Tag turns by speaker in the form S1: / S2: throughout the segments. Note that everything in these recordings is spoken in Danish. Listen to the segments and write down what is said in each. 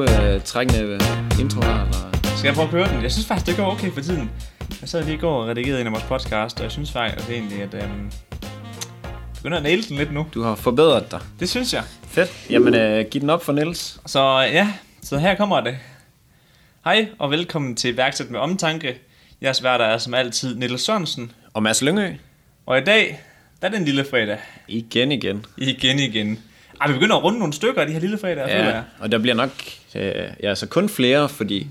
S1: øh, trækkende intro her? Eller?
S2: Skal jeg prøve at køre den? Jeg synes faktisk, det går okay for tiden. Jeg sad lige i går og redigerede en af vores podcast, og jeg synes faktisk egentlig, at øhm, jeg begynder at næle den lidt nu.
S1: Du har forbedret dig.
S2: Det synes jeg.
S1: Fedt. Jamen, øh, giv den op for Niels.
S2: Så ja, så her kommer det. Hej og velkommen til Værksæt med Omtanke. Jeres værter er som altid Niels Sørensen.
S1: Og Mads Lyngø.
S2: Og i dag, der er den lille fredag.
S1: Igen igen.
S2: Igen igen. Ej, vi begynder at runde nogle stykker af de her lille fredager, føler jeg.
S1: og der bliver nok øh, ja, så kun flere, fordi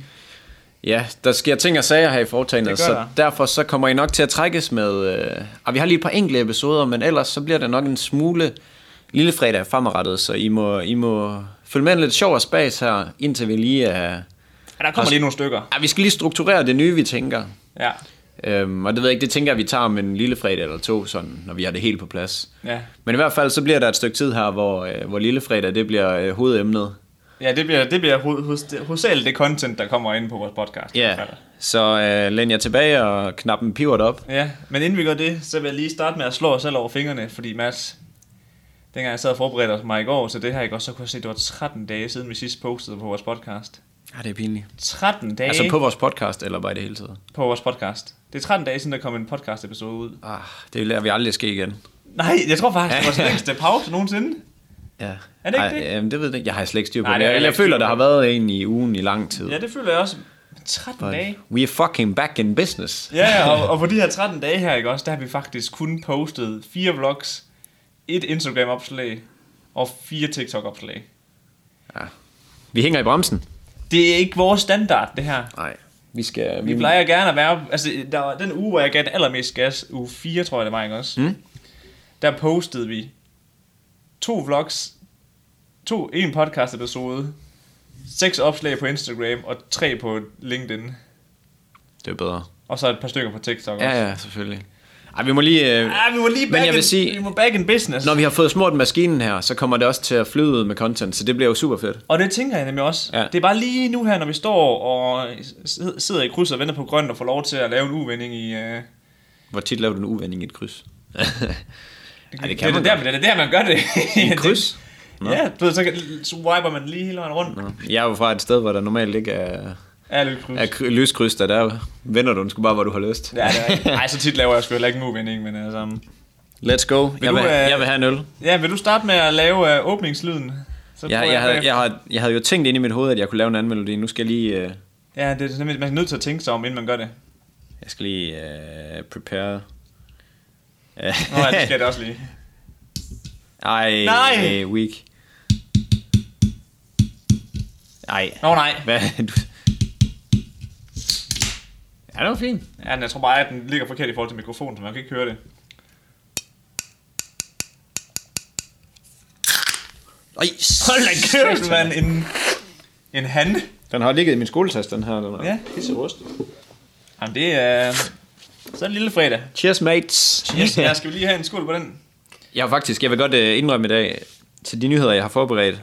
S1: ja, der sker ting og sager her i foretagendet,
S2: Det
S1: så
S2: gør der.
S1: derfor så kommer I nok til at trækkes med... Øh, og vi har lige et par enkelte episoder, men ellers så bliver det nok en smule lille fredag fremadrettet, så I må, I må følge med en lidt sjov og spas her, indtil vi lige er...
S2: Ej, der kommer lige nogle stykker.
S1: Ja, vi skal lige strukturere det nye, vi tænker.
S2: Ja,
S1: Øhm, og det ved jeg ikke, det tænker jeg, vi tager om en lille fredag eller to, sådan, når vi har det helt på plads.
S2: ja.
S1: Men i hvert fald, så bliver der et stykke tid her, hvor, øh, hvor lille fredag, det bliver øh, hovedemnet.
S2: Ja, det bliver, det bliver ho- hos, hos alt det content, der kommer ind på vores podcast. i
S1: Ja,
S2: hvert fald.
S1: så øh, læn jer tilbage og knap en pivot op.
S2: Ja, men inden vi gør det, så vil jeg lige starte med at slå os selv over fingrene, fordi Mads, dengang jeg sad og forberedte mig i går til det her, ikke også, så kunne jeg se, at det var 13 dage siden, vi sidst postede på vores podcast.
S1: Ja, Ah, det er pinligt.
S2: 13 dage
S1: Altså på
S2: på...
S1: vores podcast, eller bare i det hele taget?
S2: på vores podcast. Det er 13 dage siden, der kom en podcast episode ud.
S1: Ah, det lader vi aldrig ske igen.
S2: Nej, jeg tror faktisk, det var vores længste pause nogensinde.
S1: Ja.
S2: Er det ikke
S1: Ej,
S2: det?
S1: Jamen, det ved jeg ikke. Jeg har slet ikke styr på
S2: Nej,
S1: det.
S2: det er
S1: Jeg,
S2: heller
S1: jeg
S2: ikke
S1: føler,
S2: styr
S1: der
S2: på
S1: har været en i ugen i lang tid.
S2: Ja, det føler jeg også. 13 dage.
S1: We are fucking back in business.
S2: Ja, og, og på de her 13 dage her, ikke også, der har vi faktisk kun postet fire vlogs, et Instagram-opslag og fire TikTok-opslag.
S1: Vi hænger i bremsen.
S2: Det er ikke vores standard, det her.
S1: Nej. Vi skal...
S2: Vi plejer gerne at være... Altså, der var den uge, hvor jeg gav den allermest gas, uge 4, tror jeg det var, ikke også?
S1: Mm.
S2: Der postede vi to vlogs, to, en podcast episode, seks opslag på Instagram og tre på LinkedIn.
S1: Det er bedre.
S2: Og så et par stykker på TikTok også.
S1: Ja, ja, selvfølgelig. Ej, vi må lige... Øh,
S2: Ah, vi må lige
S1: Men
S2: back
S1: jeg vil
S2: in,
S1: sige-
S2: vi må back in business.
S1: når vi har fået smurt maskinen her, så kommer det også til at flyde ud med content, så det bliver jo super fedt.
S2: Og det tænker jeg nemlig også.
S1: Ja.
S2: Ja. Det er bare lige nu her, når vi står og sid- sidder i kryds og venter på grønt og får lov til at lave en uvending i... Uh... Det,
S1: Hvor tit laver du en uvending i et kryds? Ej, det kan man
S2: det, er
S1: godt.
S2: der, det er der, man gør det.
S1: I et kryds?
S2: det, ja, du ved, så kan- så wiper man lige hele vejen rundt.
S1: Nå. Jeg er jo fra et sted, hvor der normalt ikke er,
S2: Ja, det er kryds.
S1: er
S2: Ja,
S1: kry- lyskryds, der, der vender du den sgu bare, hvor du har lyst.
S2: det er rigtigt. Ej, så tit laver jeg sgu heller ikke en uvending, men altså...
S1: Let's go. Jeg vil,
S2: du, øh,
S1: jeg vil have en øl.
S2: Ja, vil du starte med at lave uh, åbningslyden? Så tror
S1: Jeg, jeg, havde,
S2: øh, bag-
S1: jeg, havde, jeg havde jo tænkt ind i mit hoved, at jeg kunne lave en anden melodi. Nu skal jeg lige, øh,
S2: Ja, det er nemlig, man er nødt til at tænke sig om, inden man gør det.
S1: jeg skal lige øh, prepare. Øh,
S2: Nå ja, det skal jeg da også lige.
S1: Ej,
S2: Nej.
S1: Nej. Øh, weak. Ej,
S2: Nå nej.
S1: hvad? Du... Ja, det var fint.
S2: Ja, men jeg tror bare, at den ligger forkert i forhold til mikrofonen, så man kan ikke høre det.
S1: Ej,
S2: Hold da kæft, mand. En, en han.
S1: Den har ligget i min skoletaske, den her. Den er
S2: Ja.
S1: pisse rust.
S2: Jamen, det er... Så er det lille fredag.
S1: Cheers, mates.
S2: Yes, jeg skal vi lige have en skål på den.
S1: Jeg har faktisk, jeg vil godt øh, indrømme i dag, til de nyheder, jeg har forberedt,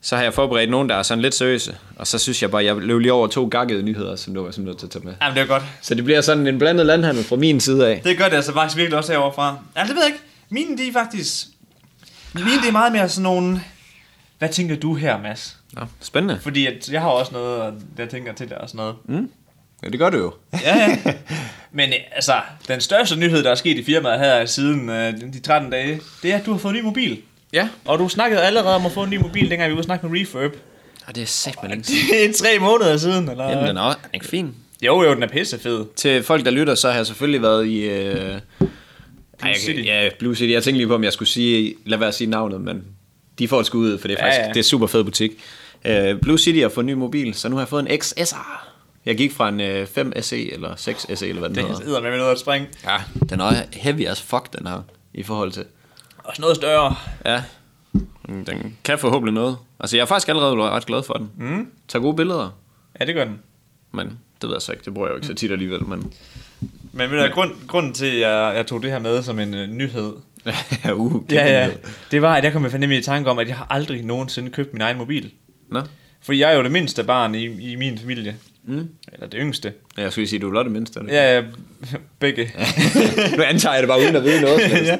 S1: så har jeg forberedt nogen, der er sådan lidt seriøse, og så synes jeg bare, jeg løb lige over to gakkede nyheder, som du var simpelthen nødt til at tage med.
S2: Jamen, det er godt.
S1: Så det bliver sådan en blandet landhandel fra min side af.
S2: Det gør det altså faktisk virkelig også herovre fra. Ja, det ved jeg ikke. Mine, de er faktisk... Mine, det er meget mere sådan nogle... Hvad tænker du her, Mads?
S1: Nå, spændende.
S2: Fordi at jeg har også noget, og jeg tænker til dig og sådan noget.
S1: Ja, det gør du jo.
S2: Ja, ja. Men øh, altså, den største nyhed, der er sket i firmaet her siden øh, de 13 dage, det er, at du har fået en ny mobil.
S1: Ja.
S2: Og du snakkede allerede om at få en ny mobil, dengang vi var ude og snakke med Reverb.
S1: Og det er sæt med længe siden.
S2: Det er tre måneder siden, eller?
S1: Jamen, den er, også- den er ikke fin.
S2: Jo, jo, den er pissefed.
S1: Til folk, der lytter, så har jeg selvfølgelig været i... Øh... Ej, jeg,
S2: City.
S1: Ja, Blue City. Jeg tænkte lige på, om jeg skulle sige... Lad være at sige navnet, men de får et skud ud, for det er
S2: Ja,
S1: faktisk... Ja, ja.
S2: ja.
S1: Det er super fed butik. Øh, Blue City har fået en ny mobil, så nu har jeg fået en XSR. Jeg gik fra en øh, 5 SE eller 6 SE, eller hvad den
S2: Det
S1: hedder.
S2: hedder med noget at springe.
S1: Ja, den er også heavy as fuck, den her, i forhold til...
S2: Også noget større.
S1: Ja, Mm, den kan forhåbentlig noget. Altså, jeg er faktisk allerede ret glad for den. Mm. Tager gode billeder,
S2: Ja, det gør den.
S1: men det ved jeg så ikke. Det bruger jeg jo ikke så tit alligevel, men...
S2: Men ved du, hvad, grund, grunden til, at jeg, jeg tog det her med som en øh, nyhed,
S1: uh,
S2: ja, ja, det var, at jeg kom med nemlig i tanke om, at jeg har aldrig nogensinde købt min egen mobil.
S1: Nå?
S2: Fordi jeg er jo det mindste barn i, i min familie. Mm. Eller det yngste.
S1: Ja, jeg skulle lige sige, du er blot det mindste. er du ikke?
S2: Ja, ja, begge.
S1: nu antager jeg det bare uden at vide noget.
S2: ja.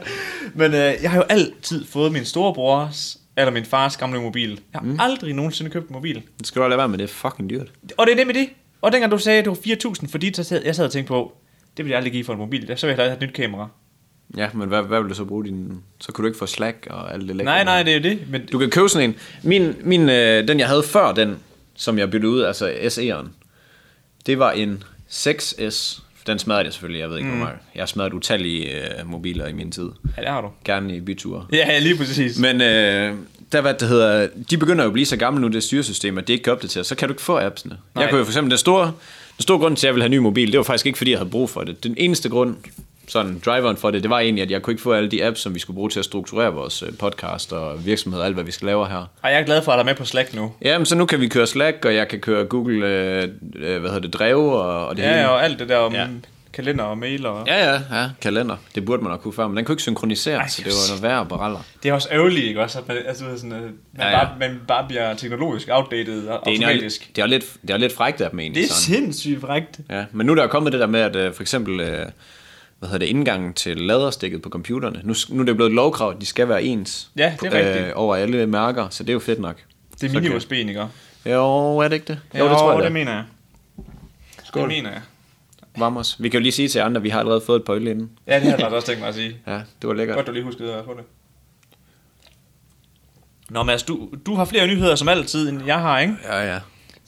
S2: Men øh, jeg har jo altid fået min storebrors eller min fars gamle mobil. Jeg har mm. aldrig nogensinde købt en mobil.
S1: Det skal du lade være med, det er fucking dyrt.
S2: Og det er det med det. Og dengang du sagde, at det var 4.000 for dit, så sad jeg sad og tænkte på, det ville jeg aldrig give for en mobil. Der så ville jeg hellere have et nyt kamera.
S1: Ja, men hvad, hvad vil du så bruge din... Så kunne du ikke få slack og alt det lækre.
S2: Nej, nej, det er jo det. Men
S1: Du kan købe sådan en. Min, min øh, den jeg havde før den, som jeg byttede ud, altså SE'eren, det var en 6S. Den smadrede jeg selvfølgelig, jeg ved ikke mm. hvor meget. Jeg har smadret utallige øh, mobiler i min tid.
S2: ja, det har du.
S1: Gerne i byture.
S2: Ja, lige præcis. Men,
S1: Men øh, der hvad det hedder, de begynder jo at blive så gamle nu, det styresystem, at det ikke kan opdatere, så kan du ikke få appsene. Nej.
S2: Nej.
S1: Jeg kunne jo for eksempel, den store, den store grund til, at jeg ville have en ny mobil, det var faktisk ikke, fordi jeg havde brug for det. Den eneste grund, sådan driveren for det, det var egentlig, at jeg kunne ikke få alle de apps, som vi skulle bruge til at strukturere vores øh, podcast og virksomhed og alt, hvad vi skal lave her.
S2: Ej, jeg er glad for, at der er med på Slack nu.
S1: Jamen, så nu kan vi køre Slack, og jeg kan køre Google, øh, øh, hvad hedder det, Dreve og, og det
S2: Ja,
S1: hele.
S2: ja, og alt det der om
S1: Ja.
S2: ja. kalender og mail og... Ja.
S1: Ja, ja, ja, kalender. Det burde man nok kunne før, men den kunne ikke synkronisere, Ej,
S2: Ej,
S1: så det var noget værre baraller.
S2: Det er også ærgerligt, ikke også? At man, altså, du ved, sådan, at man,
S1: Ja,
S2: ja,
S1: ja.
S2: ja. Bare, man bare bliver teknologisk outdated og
S1: Det er,
S2: automatisk.
S1: egentlig- det er lidt, det er lidt frækt af dem egentlig.
S2: Det er
S1: sådan.
S2: sindssygt frækt.
S1: Ja, men nu er der jo kommet det der med, at øh, for eksempel, øh, hvad hedder det, indgangen til laderstikket på computerne, nu, nu er det jo blevet et lovkrav, at de skal være ens øh,
S2: Ja, det er rigtigt.
S1: over alle mærker, så det er jo fedt nok.
S2: Det er
S1: Så
S2: mini
S1: kan-
S2: USB'en, ikke?
S1: Jo, er det ikke det? Jo, det tror jeg,
S2: det
S1: det
S2: mener jeg. Skål. Det mener jeg.
S1: er. Vamos. Vi kan jo lige sige til jer andre, at vi har allerede fået et pøjle inden.
S2: Ja, det har jeg også tænkt mig at sige.
S1: Ja, det var lækkert.
S2: Godt, du lige huskede at få det. Nå, Mads, du, du har flere nyheder som altid, end jeg har, ikke?
S1: Ja, ja.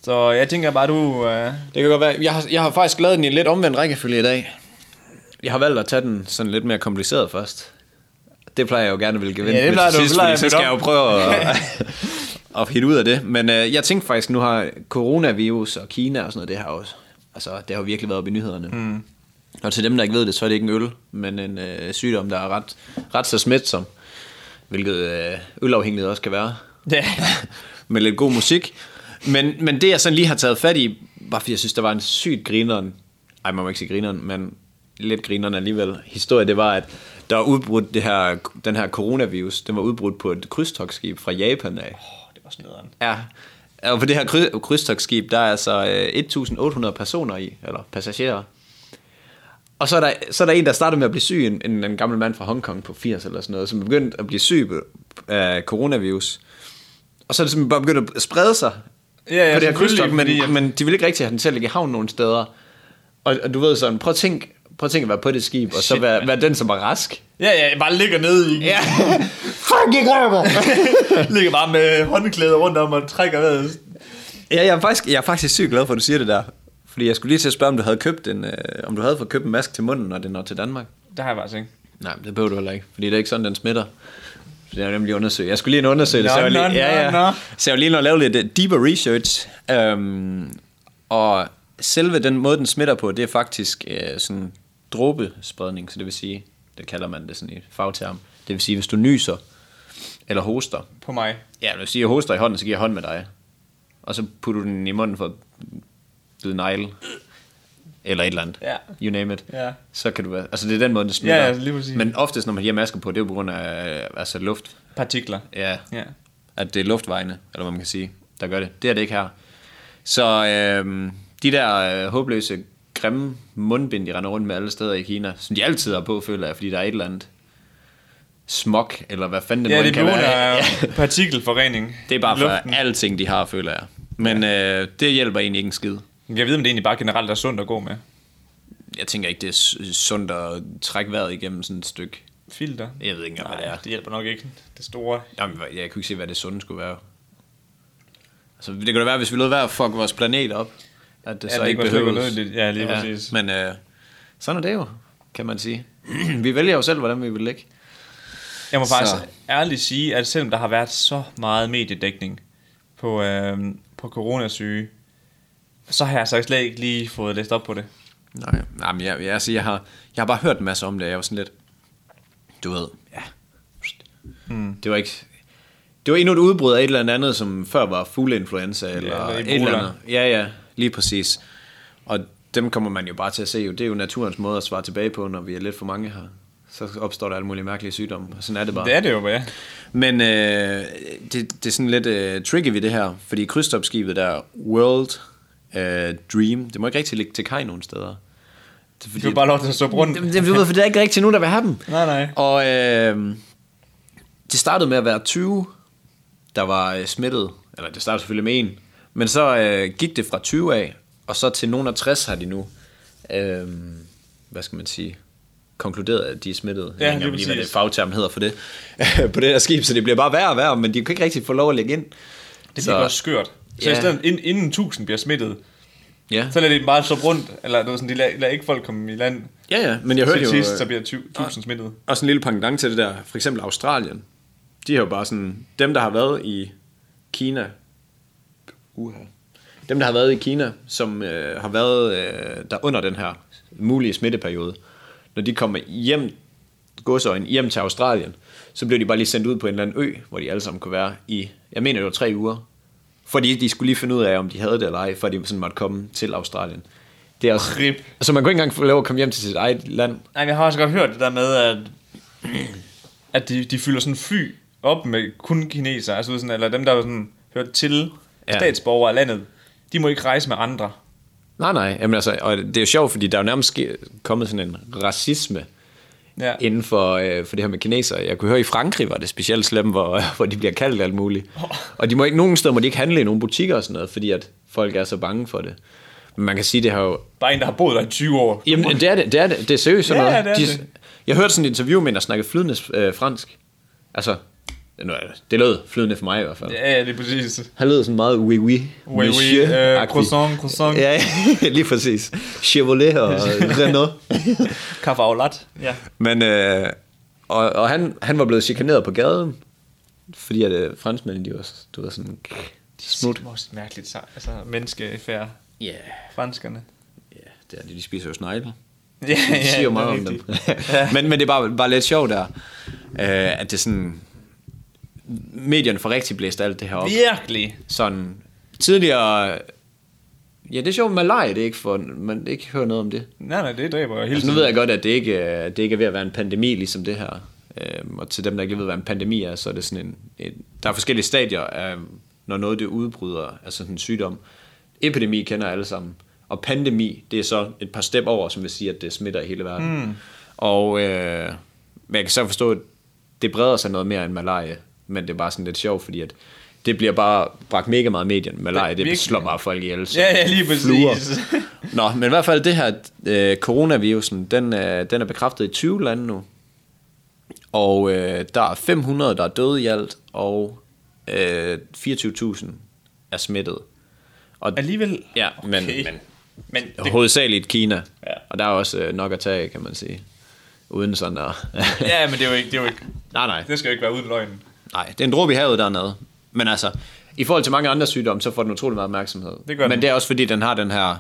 S2: Så jeg tænker bare, du... Uh...
S1: Det kan godt være. Jeg har, jeg har faktisk lavet den i en lidt omvendt rækkefølge i dag. Jeg har valgt at tage den sådan lidt mere kompliceret først. Det plejer jeg jo gerne at ville vinde
S2: Ja, det
S1: med
S2: plejer
S1: til
S2: du-
S1: sidst,
S2: plejer
S1: fordi
S2: jeg
S1: så
S2: at
S1: skal jeg
S2: bytte
S1: jo prøve at, at hitte ud af det. Men øh, jeg tænkte faktisk, nu har coronavirus og Kina og sådan noget, det har også, altså, det har jo virkelig været op i nyhederne. Mm. Og til dem, der ikke ved det, så er det ikke en øl, men en øh, sygdom, der er ret, ret så smitsom. Hvilket øh, ølafhængighed også kan være
S2: Ja.
S1: med lidt god musik. Men, men det, jeg sådan lige har taget fat i, var fordi jeg synes, der var en sygt grineren, ej, man må ikke sige grineren, men lidt grineren alligevel, historie, det var, at der var udbrudt det her, den her coronavirus, den var udbrudt på et krydstogsskib fra Japan af.
S2: Åh, det var sådan nederen.
S1: Ja. Og på det her kry- krydstogsskib, der er altså øh, 1.800 personer i, eller passagerer. Og så er, der, så er der en, der startede med at blive syg, en, en, en gammel mand fra Hongkong på 80 eller sådan noget, som begyndte at blive syg af coronavirus. Og så er det simpelthen bare begyndt at sprede sig
S2: Ja, ja,
S1: på det her
S2: selvfølgelig,
S1: krydstog, men,
S2: fordi at-
S1: men de ville ikke rigtig have den til at ligge i havn nogen steder. Og, og du ved sådan, prøv at tænke, prøv at tænke at være på det skib, og så
S2: Shit,
S1: være,
S2: mand.
S1: være den, som er rask.
S2: Ja, ja, jeg bare ligger nede i den.
S1: Ja. Fuck, jeg græber!
S2: ligger bare med håndklæder rundt om og trækker vejret.
S1: Ja, jeg er faktisk, jeg er faktisk sygt glad for, at du siger det der. Fordi jeg skulle lige til at spørge, om du havde købt en, øh, om du havde fået købt en mask til munden, når det når til Danmark.
S2: Det har jeg faktisk ikke.
S1: Nej, men det behøver du heller ikke, fordi det er ikke sådan, den smitter. Det er nemlig undersøgt. Jeg skulle lige en undersøgelse.
S2: Nå,
S1: så jeg var
S2: nå,
S1: lige, ja,
S2: nå,
S1: ja.
S2: nå.
S1: Så jeg var lige nødt lave lidt øh, deeper research. Øhm, og selve den måde, den smitter på, det er faktisk øh, sådan dråbespredning, så det vil sige, det kalder man det sådan i et fagterm. Det vil sige, hvis du nyser eller hoster,
S2: På mig.
S1: Ja, men hvis jeg hoster i hånden, så giver jeg hånd med dig. Og så putter du den i munden for at bide negle. Eller et eller andet.
S2: Ja.
S1: You name it.
S2: Ja.
S1: Så kan du være... Altså, det er den måde, det smitter.
S2: Ja, ja, lige præcis.
S1: Men oftest, når man har masker på, det er jo på grund af øh, altså, luft.
S2: Partikler.
S1: Ja.
S2: Ja.
S1: At det er luftvejene, eller hvad man kan sige, der gør det. Det er det ikke her. Så øh, de der øh, håbløse, grimme mundbind, de render rundt med alle steder i Kina, som de altid har på, føler jeg, fordi der er et eller andet smog, eller hvad fanden det
S2: Ja,
S1: nu
S2: det
S1: end
S2: er på
S1: kan
S2: grund
S1: være.
S2: af partikelforening.
S1: Det er bare
S2: i
S1: for
S2: luften.
S1: alting, de har, føler jeg. Men øh, det hjælper egentlig ikke en skid.
S2: Jeg ved, om det egentlig bare generelt er sundt at gå med.
S1: Jeg tænker ikke, det er s- sundt at trække vejret igennem sådan et stykke.
S2: Filter.
S1: Jeg ved ikke engang, hvad det er.
S2: det hjælper nok ikke. Det store.
S1: Jamen, jeg kunne ikke se, hvad det sunde skulle være. Altså, det kunne da være, hvis vi lod være at fuck vores planet op. At det
S2: Ja,
S1: så
S2: det
S1: ikke
S2: kunne slet være
S1: behøves.
S2: nødvendigt. Ja, lige præcis.
S1: Men øh, sådan er det jo, kan man sige. vi vælger jo selv, hvordan vi vil ligge.
S2: Jeg må
S1: Så.
S2: faktisk ærligt sige, at selvom der har været så meget mediedækning på, øh, på coronasyge, så har jeg så slet ikke lige fået læst op på det.
S1: Nej, nej men jeg, jeg, altså, jeg, har, jeg har bare hørt en masse om det, og jeg var sådan lidt, du ved, ja. Mm. Det var ikke, det var endnu et udbrud af et eller andet, som før var fugleinfluenza, eller,
S2: eller
S1: ja, eller et
S2: Ebola.
S1: eller andet. Ja, ja, lige præcis. Og dem kommer man jo bare til at se, jo. det er jo naturens måde at svare tilbage på, når vi er lidt for mange her. Så opstår der alle mulige mærkelige sygdomme, og sådan er det bare.
S2: Det er det jo, ja.
S1: Men øh, det, det er sådan lidt øh, tricky ved det her, fordi krydstopskibet der, World øh, Dream, det må ikke rigtig ligge til kaj nogen steder. Det er
S2: Du
S1: fordi,
S2: får bare lov til at suppe rundt.
S1: det, det, du ved, for der er ikke rigtig nogen, der vil have dem.
S2: Nej, nej.
S1: Og øh, det startede med at være 20 der var øh, smittet, eller det startede selvfølgelig med en, men så øh, gik det fra 20 af, og så til nogen af 60 har de nu, øh, hvad skal man sige, konkluderet, at de er smittet.
S2: Ja,
S1: jeg ved ikke
S2: lige
S1: engang lige, hvad det
S2: præcis.
S1: fagterm hedder for det, på det der skib, så det bliver bare værre og værre, men de kan ikke rigtig få lov at lægge ind.
S2: Det
S1: Så-
S2: bliver også skørt. Så
S1: Ja.
S2: i stedet, inden, inden 1000 bliver smittet,
S1: Ja.
S2: så lader de dem bare slå rundt, eller det var sådan, de lader, lader ikke folk komme i land.
S1: ja, ja, men jeg hørte
S2: Til
S1: jo... øh,
S2: sidst, så bliver 20 1000 smittet.
S1: også en lille pendant til det der, for eksempel Australien, de har jo bare sådan, dem der har været i Kina, uha, dem der har været i Kina, som øh, har været øh, der under den her mulige smitteperiode, når de kommer hjem, godsøjen, hjem til Australien, så blev de bare lige sendt ud på en eller anden ø, hvor de alle sammen kunne være i, jeg mener det var tre uger, fordi de skulle lige finde ud af, om de havde det eller ej, før de sådan måtte komme til Australien. Det er også...
S2: Rip.
S1: Så man kunne ikke engang få lov at komme hjem til sit eget land.
S2: Nej, men jeg har også godt hørt det der med, at, at de, de fylder sådan en fly op med kun kinesere, altså sådan, eller dem, der sådan, hører til
S1: Ja.
S2: ja. statsborgere af landet. De må ikke rejse med andre.
S1: Nej, nej. Jamen, altså, og det er jo sjovt, fordi der er jo nærmest ske- kommet sådan en racisme
S2: Ja.
S1: inden for, øh, for det her med kineser. Jeg kunne høre, i Frankrig var det specielt slemt, hvor, hvor de bliver kaldt alt muligt. Og de må ikke, nogen steder må de ikke handle i nogle butikker og sådan noget, fordi at folk er så bange for det. Men man kan sige, det har jo...
S2: Bare en, der har boet der i 20 år.
S1: Jamen, det er det. Det er, det, det er seriøst sådan
S2: Ja,
S1: noget.
S2: det er
S1: de,
S2: det.
S1: Jeg hørte sådan et interview med en, der snakkede flydende øh, fransk. Altså, nu er det- det lød flydende for mig i hvert fald.
S2: Ja, ja, lige præcis.
S1: Han lød sådan meget oui oui,
S2: oui, øh, croissant, croissant.
S1: Ja, lige præcis. Chevrolet og Renault.
S2: Kaffe au latte. Ja.
S1: Men, øh, og, og han, han var blevet chikaneret på gaden, fordi at øh, franskmændene, de var, du ved, sådan...
S2: Smut. Det er også mærkeligt, så- altså menneskefærd.
S1: Ja, yeah.
S2: Franskerne.
S1: yeah, det er det, de spiser jo snegle.
S2: Ja, ja,
S1: Det siger jo
S2: det er
S1: meget om dem.
S2: rigtigt.
S1: men, men det er bare, bare lidt sjovt der, øh, at det sådan... Medierne får rigtig blæst alt det her op.
S2: Virkelig.
S1: sådan tidligere... Ja, det er sjovt, malaria, det er ikke for, man ikke hører noget om det.
S2: Nej, nej, det dræber jo hele
S1: Altså, nu
S2: tiden.
S1: ved jeg godt, at det ikke, øh, det ikke er ved at være en pandemi, ligesom det her. Øhm, og til dem, der ikke ved, hvad en pandemi er, så er det sådan en... en der er forskellige stadier, af, når noget det udbryder, altså sådan en sygdom. Epidemi kender alle sammen. Og pandemi, det er så et par step over, som vil sige, at det smitter i hele verden.
S2: Hmm.
S1: Mm. Og øh, men jeg kan så forstå, at det breder sig noget mere end malaria, men det er bare sådan lidt sjovt, fordi at det bliver bare bragt mega meget i medierne. Malaria, det,
S2: Virkelig.
S1: det slår bare folk ihjel. som
S2: Ja, ja, lige
S1: fluer.
S2: præcis.
S1: Nå, men i hvert fald det her øh, coronavirusen, den, øh, den er bekræftet i 20 lande nu. Og øh, der er 500, der er døde i alt, og øh, 24.000 er smittet. Og
S2: Alligevel.
S1: Ja, men- men-
S2: men
S1: det...
S2: det,
S1: hovedsageligt Kina.
S2: Ja.
S1: Og der er også øh, nok at tage, af, kan man sige. Uden sådan at...
S2: ja, men det er jo ikke, det er jo ikke,
S1: nej, nej.
S2: det skal jo ikke være uden løgn.
S1: Nej, det er en dråbe i havet dernede. Men altså, i forhold til mange andre sygdomme, så får den utrolig meget opmærksomhed.
S2: Det gør den.
S1: Men det er også fordi, den har den her,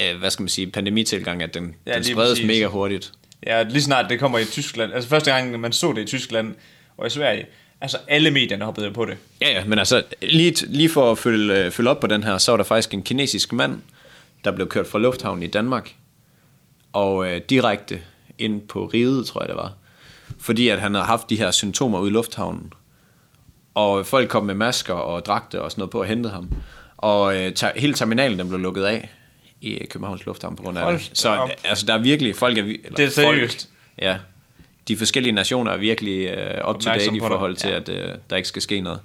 S1: øh, hvad skal man sige, pandemitilgang, at den,
S2: Ja,
S1: ja, den
S2: lige
S1: spredes
S2: præcis.
S1: mega hurtigt.
S2: Ja, lige snart det kommer i Tyskland. Altså første gang, man så det i Tyskland og i Sverige, altså alle medierne hoppede jo på det.
S1: Ja, ja, men altså, lige, lige for at følge, øh, følge op på den her, så var der faktisk en kinesisk mand, der blev kørt fra lufthavnen i Danmark, og øh, direkte ind på riget, tror jeg det var, fordi at han havde haft de her symptomer ude i lufthavnen. Og folk kom med masker og dragte og sådan noget på og hentede ham. Og øh, ter- hele terminalen den blev lukket af i øh, Københavns Lufthavn på grund af
S2: Hold
S1: det.
S2: da
S1: Så
S2: op.
S1: altså, der er virkelig, folk er... vi- Eller,
S2: Det er seriøst.
S1: Folk, ja. De forskellige nationer er virkelig øh, up to date
S2: Opmærksom
S1: i
S2: på det.
S1: forhold til,
S2: Ja.
S1: at øh, der ikke skal ske noget.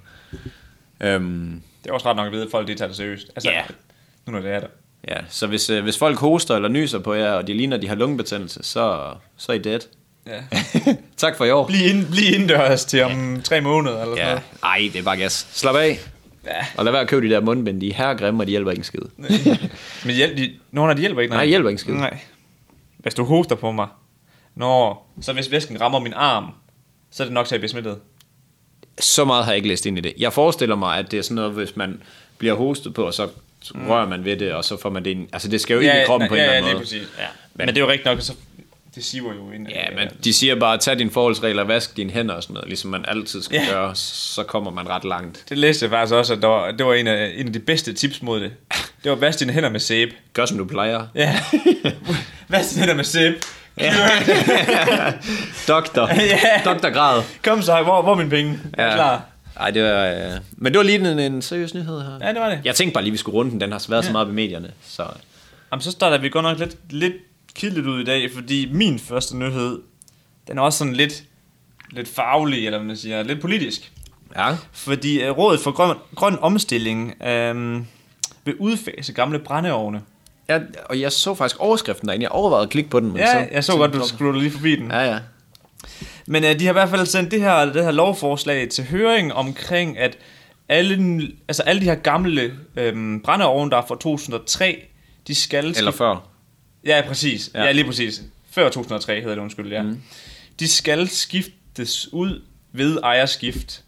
S1: Øhm,
S2: Det er også ret nok at vide, at folk de tager det seriøst. Altså,
S1: Ja.
S2: nu når det er der.
S1: ja, så hvis, øh, hvis folk hoster eller nyser på jer, og de ligner, de har lungebetændelse, så, så er I dead.
S2: Ja.
S1: tak for i år.
S2: Bliv, ind, bliv indendørs til om tre måneder eller sådan
S1: Ja,
S2: noget.
S1: ej, det er bare gas. Slap af.
S2: Ja.
S1: Og lad være at købe de der mundbind. De er herregrimme, og de hjælper ikke en skid.
S2: Men hjælp, de, nogen af de hjælper ikke.
S1: Nej, hjælper ikke en skid.
S2: Nej. Hvis du hoster på mig, Nå, så hvis væsken rammer min arm, så er det nok til at blive smittet.
S1: Så meget har jeg ikke læst ind i det. Jeg forestiller mig, at det er sådan noget, hvis man bliver hostet på, og så rører man ved det, og så får man det ind. Altså, det skal jo ind i kroppen
S2: nej,
S1: på en eller anden
S2: ja,
S1: måde.
S2: lige præcis. Ja. Men, men, det er jo rigtigt nok, så det siver jo ind.
S1: Ja, men de siger bare, tag dine forholdsregler, vask dine hænder og sådan noget, ligesom man altid skal
S2: Ja.
S1: gøre, så kommer man ret langt.
S2: Det læste jeg faktisk også, at der var, det var en af, en af de bedste tips mod det. Det var, vask dine hænder med sæbe.
S1: Gør som du plejer.
S2: Ja. vask dine hænder med sæbe.
S1: Doktor.
S2: Ja.
S1: Doktorgrad.
S2: Kom så, hvor, hvor er mine penge? Ja. Er du klar?
S1: Ej, det var, øh... Men det var lige en, en seriøs nyhed her.
S2: Ja, det var det.
S1: Jeg tænkte bare lige, vi skulle runde den. Den har været ja. så meget ved medierne. Så
S2: Jamen, så starter vi godt nok lidt, lidt kedeligt ud i dag, fordi min første nyhed, den er også sådan lidt, lidt faglig, eller hvad man siger, lidt politisk.
S1: Ja.
S2: Fordi øh, Rådet for Grøn, grøn Omstilling øh, vil udfase gamle brændeovne.
S1: Jeg, og jeg så faktisk overskriften derinde. Jeg overvejede at klikke på den, men så...
S2: Ja, jeg så godt, du scrollede lige forbi den.
S1: Ja, ja.
S2: Men øh, de har i hvert fald sendt det her, det her lovforslag til høring omkring, at alle, altså alle de her gamle øh, brændeovne, der er fra 2003, de skal...
S1: Eller
S2: skif-
S1: før.
S2: Ja, præcis. Ja.
S1: Ja.
S2: ja, lige præcis. Før 2003 hedder det, undskyld, ja. Mm. De skal skiftes ud ved ejerskift.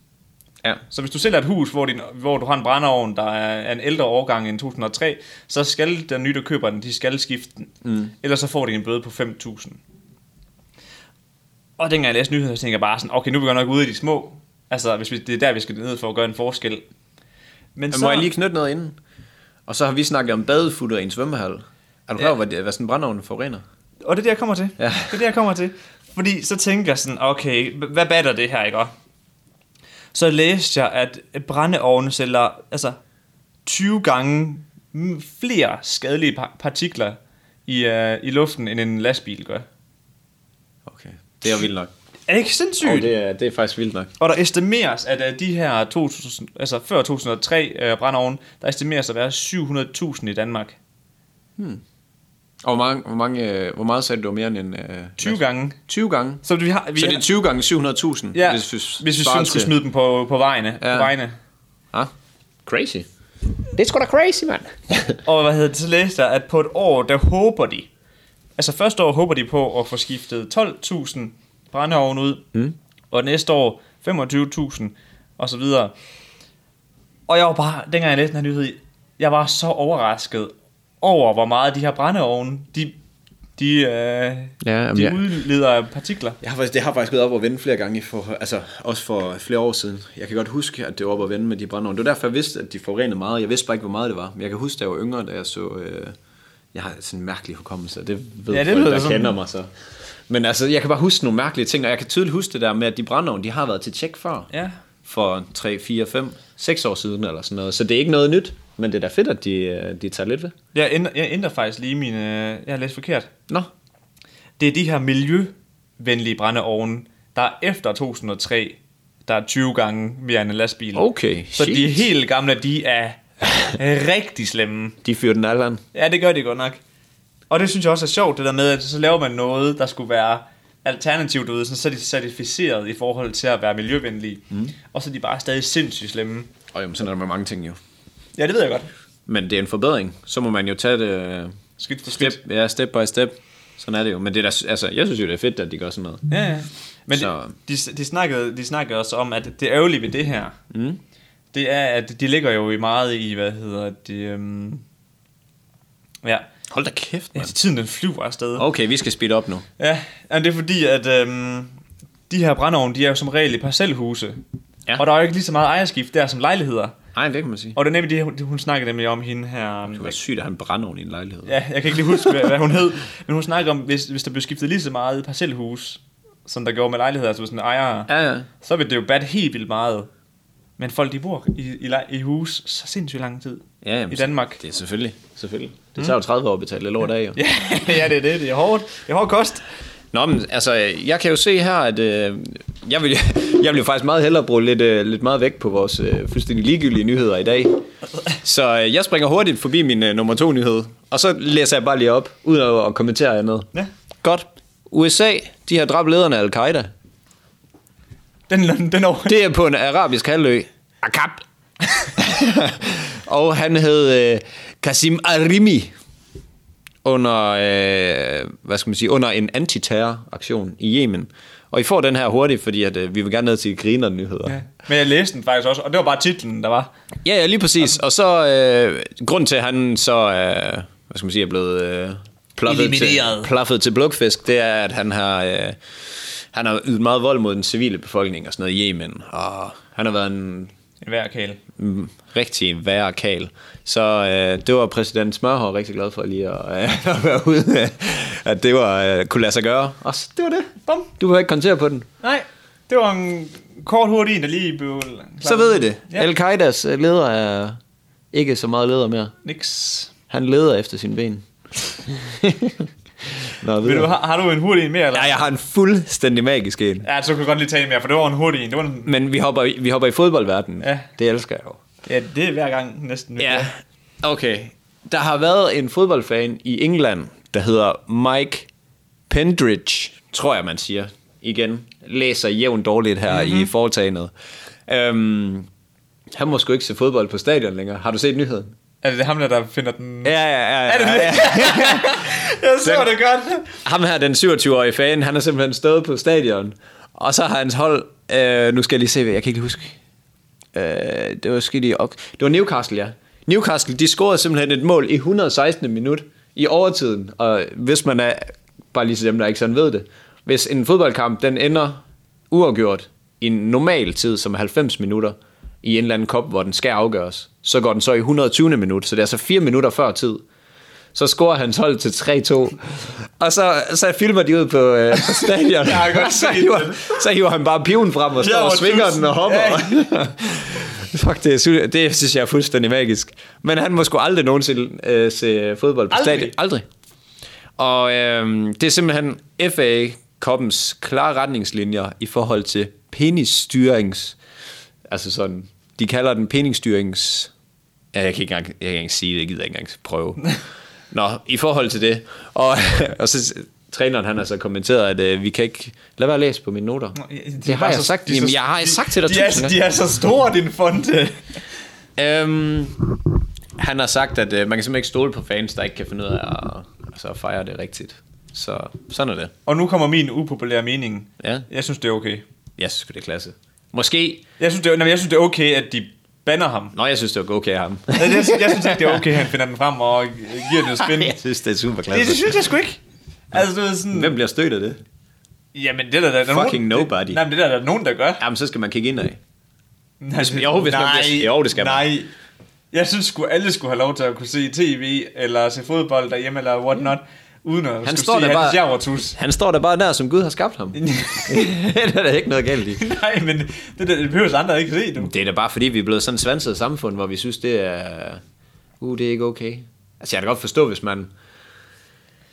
S1: Ja.
S2: Så hvis du sælger et hus, hvor, din, hvor du har en brændeovn, der er en ældre årgang end 2003, så skal den nye, der køber den, de skal skifte den. Mm. Ellers så får de en bøde på 5.000. Og dengang jeg læste nyheder, så tænkte jeg bare sådan, okay, nu er vi godt nok ude i de små. Altså, hvis vi, det er der, vi skal ned for at gøre en forskel. Men
S1: Så... Må jeg lige knytte noget inden? Og så har vi snakket om badefutter i en svømmehal. Er du klar over, hvad, det- hvad sådan en brændeovn forurener?
S2: Og det er det, jeg kommer til.
S1: Ja.
S2: Det er det, jeg kommer til. Fordi så tænker jeg sådan, okay, h- hvad batter det her, ikke? også? Så læste jeg, at brændeovne sælger altså, 20 gange m- flere skadelige par- partikler i, øh, i luften, end en lastbil gør.
S1: Okay. Det er vildt nok.
S2: Er det ikke sindssygt?
S1: Og det er, det er faktisk vildt nok.
S2: Og der estimeres, at øh, de her 2000, altså før 2003 øh, brændeovne, der estimeres at være 700.000 i Danmark.
S1: Og hvor, mange, hvor, mange, øh, hvor meget sagde du det var mere end en... Øh,
S2: 20 gange.
S1: 20 gange?
S2: Så, vi har, vi
S1: Så det
S2: har-
S1: er 20 gange 700.000,
S2: ja,
S1: hvis, vi
S2: hvis vi
S1: svarer
S2: sådan skulle
S1: til-
S2: smide dem på, på vejene. Ja.
S1: Ja.
S2: På vejene.
S1: Ah, crazy. Det er sgu da crazy, mand.
S2: Og hvad hedder det, så læste jeg, at på et år, der håber de, altså første år håber de på at få skiftet 12.000 brændeovne ud, mm. og næste år 25.000, og så videre. Og jeg var bare, dengang jeg læste den her nyhed, jeg var så overrasket over, hvor meget de her brændeovne, de, de, øh,
S1: Ja,
S2: ja,
S1: jamen,
S2: de
S1: jeg-
S2: udleder af partikler.
S1: Jeg har faktisk, det har faktisk været op og vende flere gange, for, altså også for flere år siden. Jeg kan godt huske, at det var op og vende med de brændeovne. Det var derfor, jeg vidste, at de forurenede meget. Jeg vidste bare ikke, hvor meget det var. Men jeg kan huske, da jeg var yngre, da jeg så... Øh, jeg har sådan en mærkelig hukommelse, og det ved
S2: Ja,
S1: ja,
S2: det
S1: det folk,
S2: lyder
S1: der
S2: sådan.
S1: kender mig så. Men altså, jeg kan bare huske nogle mærkelige ting, og jeg kan tydeligt huske det der med, at de brændeovne, de har været til tjek før.
S2: Ja.
S1: For 3, 4, 5, 6 år siden eller sådan noget. Så det er ikke noget nyt, men det er da fedt, at de, øh, de tager lidt ved.
S2: Jeg ændrer, jeg ændrer faktisk lige mine, øh, jeg har læst forkert.
S1: Nå,
S2: Det er de her miljøvenlige brændeovne, der er efter 2003, der er 20 gange mere end en lastbil.
S1: okay.
S2: så
S1: shit.
S2: de helt gamle, de er rigtig slemme.
S1: De fyrer den alderen.
S2: Ja, det gør de godt nok. Og det synes jeg også er sjovt, det der med, at så laver man noget, der skulle være alternativt ud, så er de certificeret i forhold til at være miljøvenlige. Mm. Og så er de bare stadig sindssygt slemme.
S1: Og jo, men sådan er der med mange ting jo.
S2: Ja, det ved jeg godt.
S1: Men det er en forbedring. Så må man jo tage det øh,
S2: Skidt for
S1: step,
S2: skidt.
S1: ja, step by step. Sådan er det jo. Men det er da, altså, jeg synes jo, det er fedt, at de gør sådan noget.
S2: Ja, ja. Men
S1: Så-
S2: de, de, de, snakkede, de snakkede også om, at det ærgerlige ved det her, mm. det er, at de ligger jo i meget i, hvad hedder det, øhm, ja,
S1: Hold da kæft,
S2: ja, tiden den flyver afsted. Oh.
S1: Okay, vi skal speede op nu.
S2: Ja, og det er fordi, at øhm, de her brændeovne, de er jo som regel i parcelhuse, ja.
S1: Ja.
S2: og der er jo ikke lige så meget ejerskift der som lejligheder.
S1: Nej, det kan man sige.
S2: Og det er nemlig det, hun- hun snakkede nemlig om hende her, øhm,
S1: Det var sygt at have en brændeovn i en lejlighed.
S2: Ja, jeg kan ikke lige huske, hvad, hvad hun hed. Men hun snakker om, hvis, hvis der blev skiftet lige så meget parcelhus, som der gjorde med lejligheder, altså sådan ejere,
S1: Ja, ja.
S2: så ville det jo batte helt vildt meget. Men folk, de bor i, i, lej- i hus så sindssygt lang tid
S1: Ja, jamen,
S2: i Danmark.
S1: Det er selvfølgelig. selvfølgelig. Det tager jo 30 år at betale lidt over dag, jo.
S2: Ja, ja, det er det. Det er hårdt. Det er hård kost.
S1: Nå, men altså, jeg kan jo se her, at øh, jeg, vil, jeg vil jo faktisk meget hellere bruge lidt, øh, lidt meget vægt på vores øh, fuldstændig ligegyldige nyheder i dag. Så øh, jeg springer hurtigt forbi min øh, nummer to nyhed, og så læser jeg bare lige op, uden at, at kommentere andet.
S2: Ja.
S1: Godt. USA, de har dræbt lederne af al-Qaida.
S2: Den, den over.
S1: Det er på en arabisk halvø. Akab. og han hed øh, Kasim Arimi under, øh, hvad skal man sige, under en antiterroraktion i Yemen. Og I får den her hurtigt, fordi at, øh, vi vil gerne ned til griner nyheder. Ja.
S2: Ja. Men jeg læste den faktisk også, og det var bare titlen, der var.
S1: ja, ja, lige præcis. Og så, øh, grund til, at han så, øh, hvad skal man sige, er blevet øh, plaffet, til,
S2: Elimineret.
S1: plaffet til blukfisk, det er, at han har, øh, han har ydet meget vold mod den civile befolkning og sådan noget i Yemen. Og han har været en
S2: En hver kæle.
S1: Mm, rigtig værre kal. Så øh, det var præsident Smørhår rigtig glad for lige at, øh, at være ude, med, at det var, øh, kunne lade sig gøre. Og så, det var det.
S2: Bum.
S1: Du behøver ikke kommentere på den.
S2: Nej, det var en kort hurtig en, der lige blev...
S1: Så ved I det.
S2: Ja.
S1: Al-Qaidas øh, leder er ikke så meget leder mere.
S2: Niks.
S1: Han leder efter sine ben. Nå,
S2: Vil du, har, har du en hurtig en mere? Eller?
S1: Ja, jeg har en fuldstændig magisk en.
S2: Ja, så kunne jeg godt lige tage en mere, for det var en hurtig en. Det var en,
S1: Men vi hopper, i- vi hopper i fodboldverdenen.
S2: Ja.
S1: Det elsker jeg jo.
S2: ja, det er hver gang næsten. vi
S1: Ja, okay. Der har været en fodboldfan i England, der hedder Mike Pendridge, tror jeg, man siger. Igen, læser jævnt dårligt her mm-hmm. i foretagendet. Øhm, han må sgu ikke se fodbold på stadion længere. Har du set nyheden?
S2: Er det ham der, der finder den?
S1: Ja, ja, ja.
S2: Er det det? jeg så det godt.
S1: Ham her, den 27-årige fan, han har simpelthen stået på stadion, og så har hans hold, øh, nu skal jeg lige se, hvad jeg kan ikke lige huske. Øh, det var skidt i, ok. det var Newcastle, ja. Newcastle, de scorede simpelthen et mål i 116. minut i overtiden, og hvis man er, bare lige til dem, der ikke sådan ved det, hvis en fodboldkamp, den ender uafgjort i en normal tid, som er 90 minutter, i en eller anden kop, hvor den skal afgøres, så går den så i 120. minut, så det er altså fire minutter før tid. Så scorer han 12 til 3-2. Og så, så filmer de ud på, øh, på stadion.
S2: Jeg har godt
S1: så,
S2: set
S1: hiver,
S2: det.
S1: så hiver han bare piven frem og står
S2: Ja,
S1: og
S2: hvor
S1: svinger
S2: tusind.
S1: den og hopper. Fuck, det, er, sy- det synes jeg er fuldstændig magisk. Men han må sgu aldrig nogensinde øh, se fodbold på
S2: Aldrig?
S1: stadion. Aldrig. Og øh, det er simpelthen FA Koppens klare retningslinjer i forhold til penisstyrings... Altså sådan, de kalder den penisstyrings... Ja, jeg kan ikke engang, jeg kan ikke engang sige det, jeg gider ikke engang prøve. Nå, i forhold til det. Og, og så træneren, han har så kommenteret, at øh, vi kan ikke... Lad være at læse på mine noter. Det, har jeg sagt. Jamen, jeg har sagt til dig
S2: de,
S1: tusind
S2: er, de er så store, din fonte.
S1: Øhm, han har sagt, at øh, man kan simpelthen ikke stole på fans, der ikke kan finde ud af at, altså, at fejre det rigtigt. Så sådan er det.
S2: Og nu kommer min upopulære mening.
S1: Ja.
S2: Jeg synes, det er okay.
S1: Jeg synes sgu, det er klasse. Måske...
S2: Jeg synes, det er, nej, men jeg synes, det er okay, at de banner ham.
S1: Nå, jeg synes, det var okay af ham.
S2: Jeg, jeg, jeg synes ikke, det er okay, at han finder den frem og giver den et spin.
S1: jeg synes, det er super
S2: det, det
S1: klasse.
S2: synes jeg sgu ikke. Altså, du ved sådan...
S1: Hvem bliver stødt af det?
S2: Jamen, det er der, der, der er
S1: Fucking
S2: nogen,
S1: nobody.
S2: Det, nej, men det er der, der er nogen, der gør.
S1: Jamen, så skal man kigge indad.
S2: Nej, det-
S1: jo, hvis man
S2: nej,
S1: bliver- jo, det skal man.
S2: nej. Jeg synes sgu, alle skulle have lov til at kunne se tv, eller se fodbold derhjemme, eller what not, uden at skulle
S1: står
S2: sige,
S1: der
S2: at
S1: bare-
S2: jeg var tus.
S1: Han står der bare der, som Gud har skabt ham. det er der ikke noget galt i.
S2: Nej, men det, der, det behøver andre ikke se, du.
S1: Det er da bare fordi, vi er blevet sådan et svanset samfund, hvor vi synes, det er... Uh, det er ikke okay. Altså, jeg kan da godt forstå, hvis man...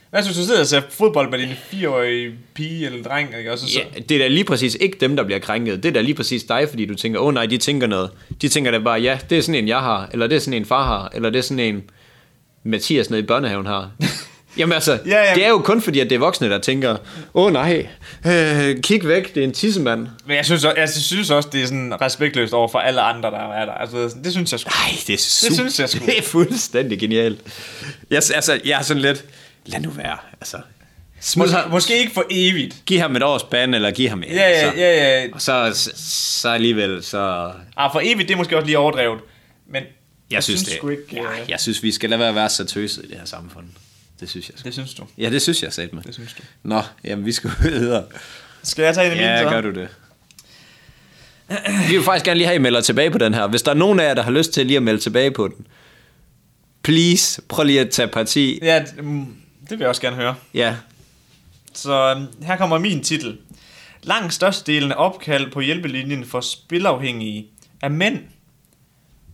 S2: Hvad synes du, sidder og ser fodbold med din fireårige pige eller dreng, ikke? Og så, så,
S1: Ja, det er da lige præcis ikke dem, der bliver krænket. Det er da lige præcis dig, fordi du tænker, åh oh, nej, de tænker noget. De tænker da bare, ja, det er sådan en, jeg har, eller det er sådan en, far har, eller det er sådan en, Mathias nede i børnehaven har. Jamen altså, ja,
S2: Ja, ja.
S1: ja. det er jo kun fordi, at det er voksne, der tænker, åh oh, nej, øh, kig væk, det er en tissemand.
S2: Men jeg synes, også, jeg synes også, det er sådan respektløst over for alle andre, der er der. Altså, det synes jeg sgu.
S1: Nej, det er super,
S2: synes jeg sgu.
S1: Det er fuldstændig genialt. Jeg, altså, jeg er sådan lidt, lad nu være, altså. Smid
S2: Mås-
S1: ham,
S2: måske ikke for evigt.
S1: giv ham et års band, eller giv ham et.
S2: Ja, ja,
S1: så.
S2: ja, ja.
S1: Og så, så alligevel, så
S2: Ah, for evigt, det er måske også lige overdrevet. Men jeg,
S1: Jeg synes, det.
S2: sgu ikke, øh,
S1: ja,
S2: ja,
S1: jeg synes, vi skal lade være at være så tøsede i det her samfund. Det synes jeg. sgu.
S2: Det synes du.
S1: Ja, det synes jeg sagde med.
S2: Det synes du.
S1: Nå, jamen vi skal videre.
S2: Skal jeg tage en af mine,
S1: Ja,
S2: så?
S1: gør du det. Vi vil faktisk gerne lige have, at I melder tilbage på den her. Hvis der er nogen af jer, der har lyst til lige at melde tilbage på den, please, prøv lige at tage parti.
S2: Ja, d- mm, det vil jeg også gerne høre.
S1: Ja,
S2: Så øhm, her kommer min titel. Langt størstedelen af opkald på hjælpelinjen for spilafhængige er mænd.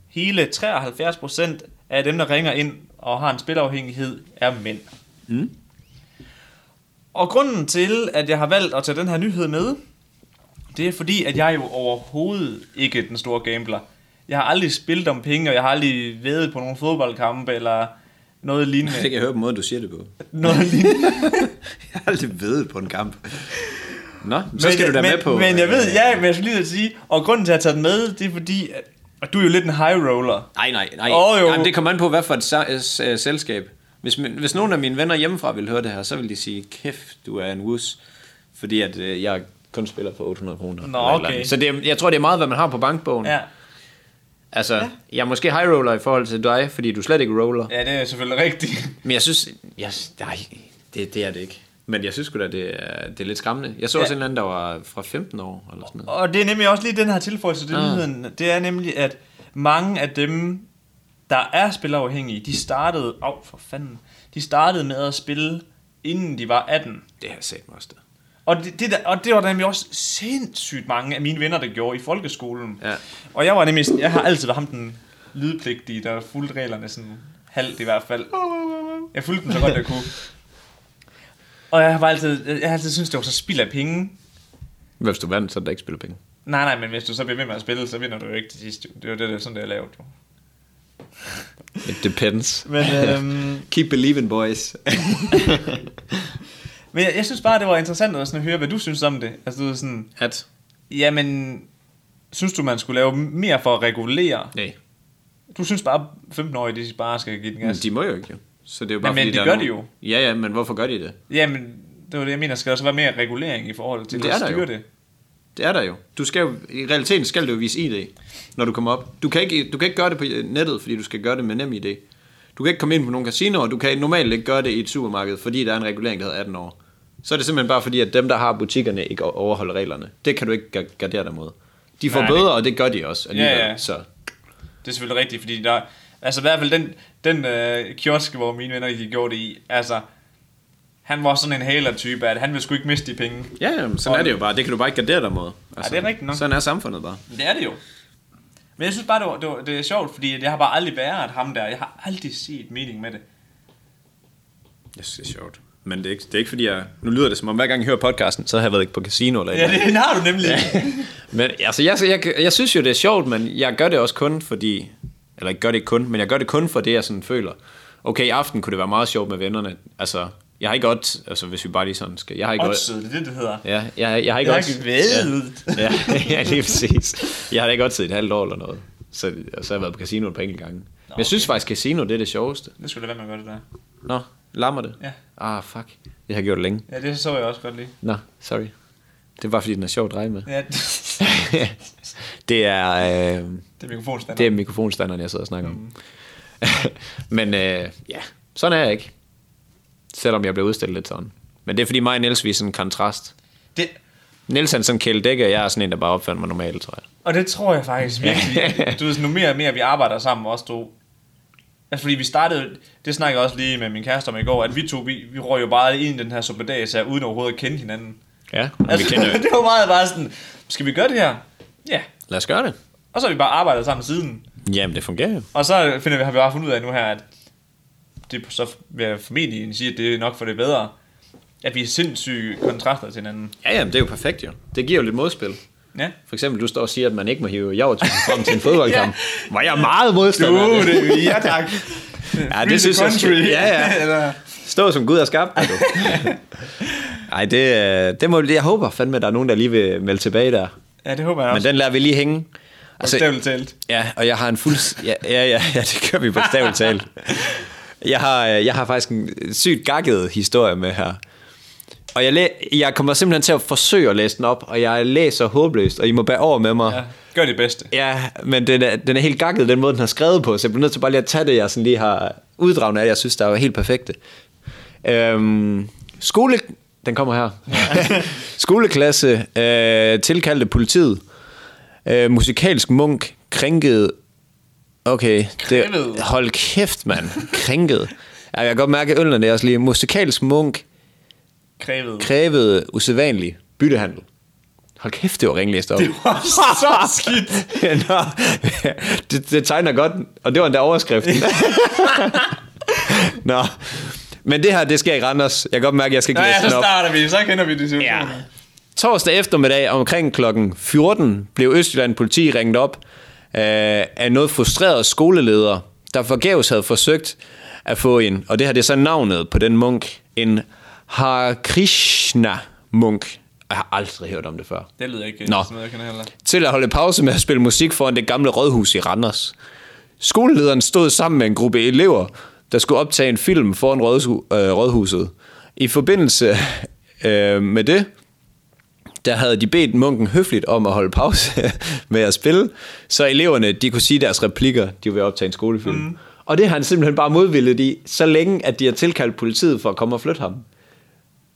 S2: Hele 73% af dem, der ringer ind og har en spilafhængighed, er mænd.
S1: Mm.
S2: Og grunden til, at jeg har valgt at tage den her nyhed med, det er fordi, at jeg jo overhovedet ikke er den store gambler. Jeg har aldrig spillet om penge, og jeg har aldrig været på nogle fodboldkampe eller noget lignende.
S1: det kan jeg høre på måden, du siger det på.
S2: Noget lignende.
S1: Jeg har aldrig ved på en kamp. Nå, så skal
S2: men,
S1: du da
S2: men,
S1: med på. øh,
S2: Men jeg ved, ja, men jeg skulle lige til at sige, og grunden til at tage den med, det er fordi, at, at du er jo lidt en high roller.
S1: Nej, nej, nej.
S2: Åh, jo.
S1: Jamen, det kommer an på, hvad for et sa- s- øh, selskab. Hvis, min- hvis nogen af mine venner hjemmefra ville høre det her, så ville de sige, kæft, du er en wus, fordi at, øh, jeg kun spiller for 800 kroner. eller et eller
S2: okay.
S1: andet. Så det, er- jeg tror, det er meget, hvad man har på bankbogen.
S2: Ja,
S1: Altså, jeg er måske high roller i forhold til dig, fordi du slet ikke roller.
S2: ja det er selvfølgelig rigtigt.
S1: Men jeg synes, jeg, nej, det, det er det ikke. Men jeg synes sgu da, det er, det er lidt skræmmende. Jeg så også
S2: Ja.
S1: en eller anden, der var fra 15 år, eller sådan noget.
S2: Og det er nemlig også lige den her tilføjelse til
S1: Ah.
S2: nyheden. Det er nemlig, at mange af dem, der er spilafhængige, de startede, af for fanden, de startede med at spille, inden de var 18.
S1: Det har jeg set mig også der.
S2: Og det, det, der, og det var der nemlig også sindssygt mange af mine venner, der gjorde i folkeskolen.
S1: Ja.
S2: Og jeg var nemlig, sådan- jeg har altid været ham den lydpligtige, der fulgte reglerne sådan halvt i hvert fald. Jeg fulgte dem så godt jeg kunne. Og jeg har, bare altid, jeg har altid syntes, det var så spild af penge.
S1: Hvis du vandt, så er der ikke spillet penge.
S2: Nej, nej, men hvis du så bliver ved med at spille, så vinder du jo ikke til sidst. jo. Det er jo det, der, sådan, det er lavet. Jo.
S1: It depends.
S2: Men, øhm,
S1: Keep believing, boys.
S2: men jeg, jeg, synes bare, det var interessant at, sådan, at høre, hvad du synes om det. Altså, du ved sådan,
S1: At?
S2: jamen, synes du, man skulle lave mere for at regulere?
S1: Nej.
S2: Du synes bare, 15-årige, de bare skal give den gas.
S1: De må jo ikke, jo. Så det er jo bare,
S2: Men- men
S1: fordi,
S2: det
S1: der
S2: gør
S1: er
S2: de
S1: nogen- Ja, ja, men hvorfor gør de det?
S2: Jamen, det var det, jeg mener. Skal der så være mere regulering i forhold til
S1: Det
S2: at
S1: er der
S2: styre
S1: jo.
S2: Mm. det?
S1: Det er der jo. Du skal jo I realiteten skal du jo vise ID, når du kommer op. Du kan, ikke, du kan ikke gøre det på nettet, fordi du skal gøre det med nem ID. Du kan ikke komme ind på nogle casinoer, du kan normalt ikke gøre det i et supermarked, fordi der er en regulering, der hedder 18 år. Så er det simpelthen bare fordi, at dem, der har butikkerne, ikke overholder reglerne. Det kan du ikke gar- gardere dig mod. De får
S2: Nej,
S1: bøder, og det gør de også alligevel.
S2: Ja, ja.
S1: Så
S2: Det er selvfølgelig rigtigt, fordi der... Altså i hvert fald den, den øh, kiosk, hvor mine venner de gjorde det i, altså... Han var sådan en hæler-type, at han ville sgu ikke miste de penge.
S1: ja, jamen, sådan er det jo bare. Det kan du bare ikke gardere dig mod. Altså,
S2: det er rigtigt nok.
S1: Sådan er samfundet bare.
S2: Men Det er det jo. Men jeg synes bare, det, var, det, var, det er sjovt, fordi jeg har bare aldrig været ham der. Jeg har aldrig set mening med det.
S1: Jeg synes, det er sjovt. Men det er, ikke, det er ikke fordi, jeg... Nu lyder det som om, hver gang jeg hører podcasten, så har jeg været ikke på casino eller et eller
S2: Ja, det, det har du nemlig.
S1: Men altså, jeg, jeg, jeg synes jo, det er sjovt, men jeg gør det også kun fordi... Eller jeg gør det ikke kun, men jeg gør det kun for det, jeg sådan føler. Okay, i aften kunne det være meget sjovt med vennerne. Altså, jeg har ikke odds... Altså, hvis vi bare lige sådan skal... Jeg har ikke odds.
S2: Oddset, det er det, det hedder.
S1: Ja, jeg, jeg har ikke
S2: Jeg har
S1: odds.
S2: ikke ved.
S1: Ja, ja, ja, lige præcis. Jeg har da ikke odds i et halvt år eller noget. Så, og så har jeg været på casino et par enkelte gange. Men jeg synes faktisk, casino det er det sjoveste.
S2: Det skulle da være med at gøre det der.
S1: Nå, lammer det?
S2: Ja.
S1: Ah, fuck. Det har jeg gjort længe.
S2: Ja, det så jeg også godt lige.
S1: Nå, sorry. Det er bare, fordi den er sjov at dreje med.
S2: Ja,
S1: det er... Øh, Mm.
S2: det er mikrofonstander.
S1: det er mikrofonstanderen, jeg sidder og snakker om. Men øh, ja, sådan er jeg ikke. Selvom jeg blev udstillet lidt sådan. Men det er fordi mig og Niels, vi er sådan en kontrast.
S2: det,
S1: Niels han er sådan kæledække, og jeg er sådan en, der bare opfører mig normalt, tror jeg.
S2: Og det tror jeg faktisk virkelig. du ved, sådan, nu mere og mere vi arbejder sammen, os to. Altså, fordi vi startede, det snakkede jeg også lige med min kæreste om i går, at vi to, vi, vi røg jo bare ind i den her suppedags her, uden overhovedet at kende hinanden.
S1: Ja, men altså, vi kender jo.
S2: det var meget bare sådan, skal vi gøre det her? Ja.
S1: Lad os gøre det.
S2: Og så har vi bare arbejdet sammen siden.
S1: Jamen, det fungerer jo.
S2: Og så finder vi, har vi bare fundet ud af nu her, at det så vil jeg formentlig sige, at det er nok for det bedre, at vi er sindssyge kontraster til hinanden.
S1: Ja, jamen, det er jo perfekt jo. Det giver jo lidt modspil.
S2: Ja.
S1: For eksempel, du står og siger, at man ikke må hive javertusen frem til en fodboldkamp. ja. Var jeg meget modstander af
S2: Uh, det, ja tak.
S1: Ja, det synes jeg.
S2: country.
S1: Ja, ja.
S2: Eller-
S1: Stå som Gud har skabt dig, du. Ej, det, øh, det må, jeg håber fandme, at der er nogen, der lige vil melde tilbage der.
S2: ja, det håber jeg også.
S1: Men den lader vi lige hænge. Altså,
S2: Bogstaveligt talt.
S1: ja, og jeg har en fuld... Ja, ja, ja, ja det gør vi på stavl talt. Jeg har, øh, jeg har faktisk en sygt gakket historie med her. Og jeg, læ- jeg kommer simpelthen til at forsøge at læse den op, og jeg læser håbløst, og I må bære over med mig.
S2: Ja, gør det bedste.
S1: Ja, men den er, den er helt gakket, den måde, den har skrevet på, så jeg bliver nødt til bare lige at tage det, jeg sådan lige har uddragende af det, jeg synes, der er helt perfekte. Øhm, skole... Den kommer her. Skoleklasse øh, tilkaldte politiet. Øh, musikalsk munk krænkede... Okay, det,
S2: Krænkede.
S1: hold kæft, mand. Krænkede. Ja, jeg kan godt mærke, at øllen er også lige... Musikalsk munk
S2: Krævet.
S1: krævede usædvanlig byttehandel. Hold kæft, det var ringlæst op. Det
S2: var så skidt.
S1: Nå, det, det tegner godt, og det var endda overskriften. Nå, men det her, det sker i Randers. Jeg kan godt mærke, at jeg skal
S2: Nå
S1: ikke
S2: ja,
S1: læse
S2: så
S1: den op.
S2: starter vi, så kender vi det situation. Ja.
S1: Torsdag eftermiddag omkring kl. 14 blev Østjylland politi ringet op øh, af noget frustreret skoleleder, der forgæves havde forsøgt at få en, og det her det er så navnet på den munk, en Krishna munk Jeg har aldrig hørt om det før.
S2: Det lyder ikke
S1: Nå.
S2: Nå. sådan noget, jeg kender heller.
S1: Til at holde pause med at spille musik foran det gamle rådhus i Randers. Skolelederen stod sammen med en gruppe elever, der skulle optage en film foran rådhu- øh, rådhuset. I forbindelse øh, med det, der havde de bedt munken høfligt om at holde pause med at spille, så eleverne de kunne sige deres replikker, de ville optage en skolefilm. Mm. Og det har han simpelthen bare modvillet i, så længe at de har tilkaldt politiet for at komme og flytte ham.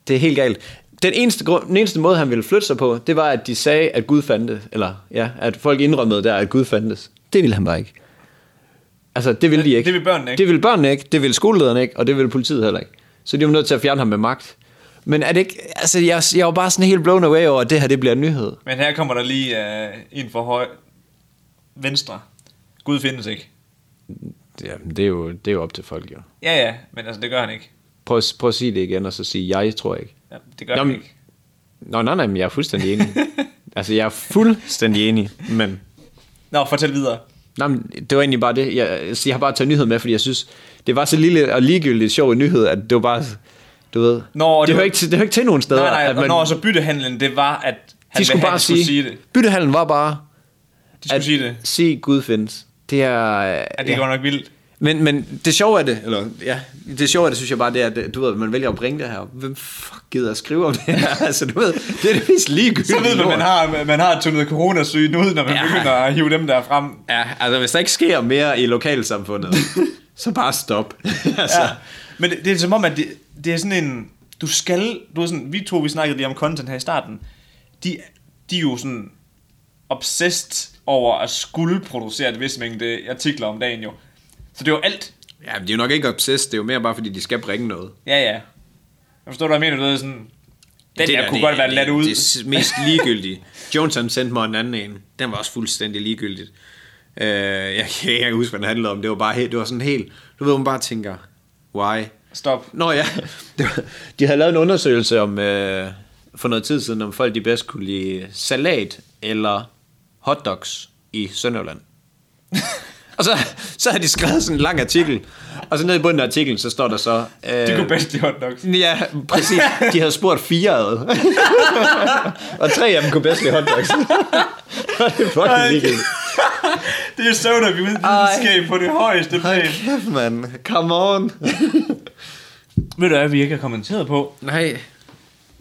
S1: Det er helt galt. Den eneste, grund, den eneste måde, han ville flytte sig på, det var, at de sagde, at Gud fandtes. Eller ja, at folk indrømmede der, at Gud fandtes. Det ville han bare ikke. Altså, det ville de ikke.
S2: det ville børnene ikke.
S1: Det ville børnene ikke, det ville skolelederne ikke, og det ville politiet heller ikke. Så de var nødt til at fjerne ham med magt. Men er det ikke... Altså, jeg, jeg var bare sådan helt blown away over, at det her, det bliver en nyhed.
S2: Men her kommer der lige uh, en for høj venstre. Gud findes ikke.
S1: Jamen, det er jo, det er jo op til folk, jo.
S2: Ja, ja, men altså det gør han ikke.
S1: Prøv, at- prøv at sige det igen, og så sige, jeg tror ikke.
S2: Ja, det gør
S1: Nå,
S2: Jamen,
S1: men-
S2: ikke.
S1: Nå, nej, nej, men jeg er fuldstændig enig. altså, jeg er fuldstændig enig, men...
S2: Nå, fortæl videre.
S1: Nej, men det var egentlig bare det. Jeg, så jeg har bare taget nyhed med, fordi jeg synes, det var så lille og ligegyldigt sjov en nyhed, at det var bare... Du ved,
S2: Nå, og
S1: det,
S2: det
S1: hører
S2: var-
S1: ikke til, det hører ikke til nogen steder.
S2: Nej, nej,
S1: at
S2: og når så byttehandlen, det var, at han
S1: de skulle
S2: ville have,
S1: bare
S2: de skulle
S1: sige,
S2: sige det.
S1: byttehandlen var bare,
S2: De skulle
S1: at
S2: sige det.
S1: se Gud findes. Det er...
S2: Ja, det er godt nok vildt.
S1: Men, men det sjove af det, eller ja, det sjove af det, synes jeg bare, det er, at du ved, man vælger at bringe det her. Hvem fuck gider at skrive om det her? altså, du ved, det er det mest ligegyldige.
S2: Så ved man,
S1: lort.
S2: man har, man har tundet coronasygen ud, når man
S1: Ja.
S2: ja. begynder at hive dem der frem.
S1: Ja, altså hvis der ikke sker mere i lokalsamfundet, så bare stop. altså,
S2: Ja. Men det, det, er som om, at det, det er sådan en... Du skal... Du er sådan, vi to, vi snakkede lige om content her i starten. De, de er jo sådan obsessed over at skulle producere et vis mængde artikler om dagen jo. Så det er jo alt.
S1: ja, men de er jo nok ikke obsessed, det er jo mere bare fordi, de skal bringe noget.
S2: Ja, ja. Jeg forstår, hvad jeg mener. Du ved, sådan, den det der,
S1: der,
S2: kunne godt være ladt ud.
S1: Det er mest ligegyldigt. Johnson sendte mig en anden en. Den var også fuldstændig ligegyldigt. Øh, jeg kan ikke huske, hvad den handlede om. Det var bare helt, det var sådan helt... Du ved, man bare tænker, why?
S2: Stop.
S1: Nå ja, det var, de havde lavet en undersøgelse om, øh, for noget tid siden, om folk de bedst kunne lide salat eller hotdogs i Sønderjylland. og så, så havde de skrevet sådan en lang artikel, og så nede i bunden af artiklen, så står der så... Øh,
S2: Det kunne bedst i hotdogs.
S1: Ja, præcis. De havde spurgt fire ad. og tre af dem kunne bedst lide hotdogs. Og det er fucking
S2: Ej,
S1: ligegyldigt.
S2: Det er soda, vi videnskab på det højeste plan.
S1: kæft, mand. Come on.
S2: Ved du hvad, vi ikke har kommenteret på?
S1: Nej.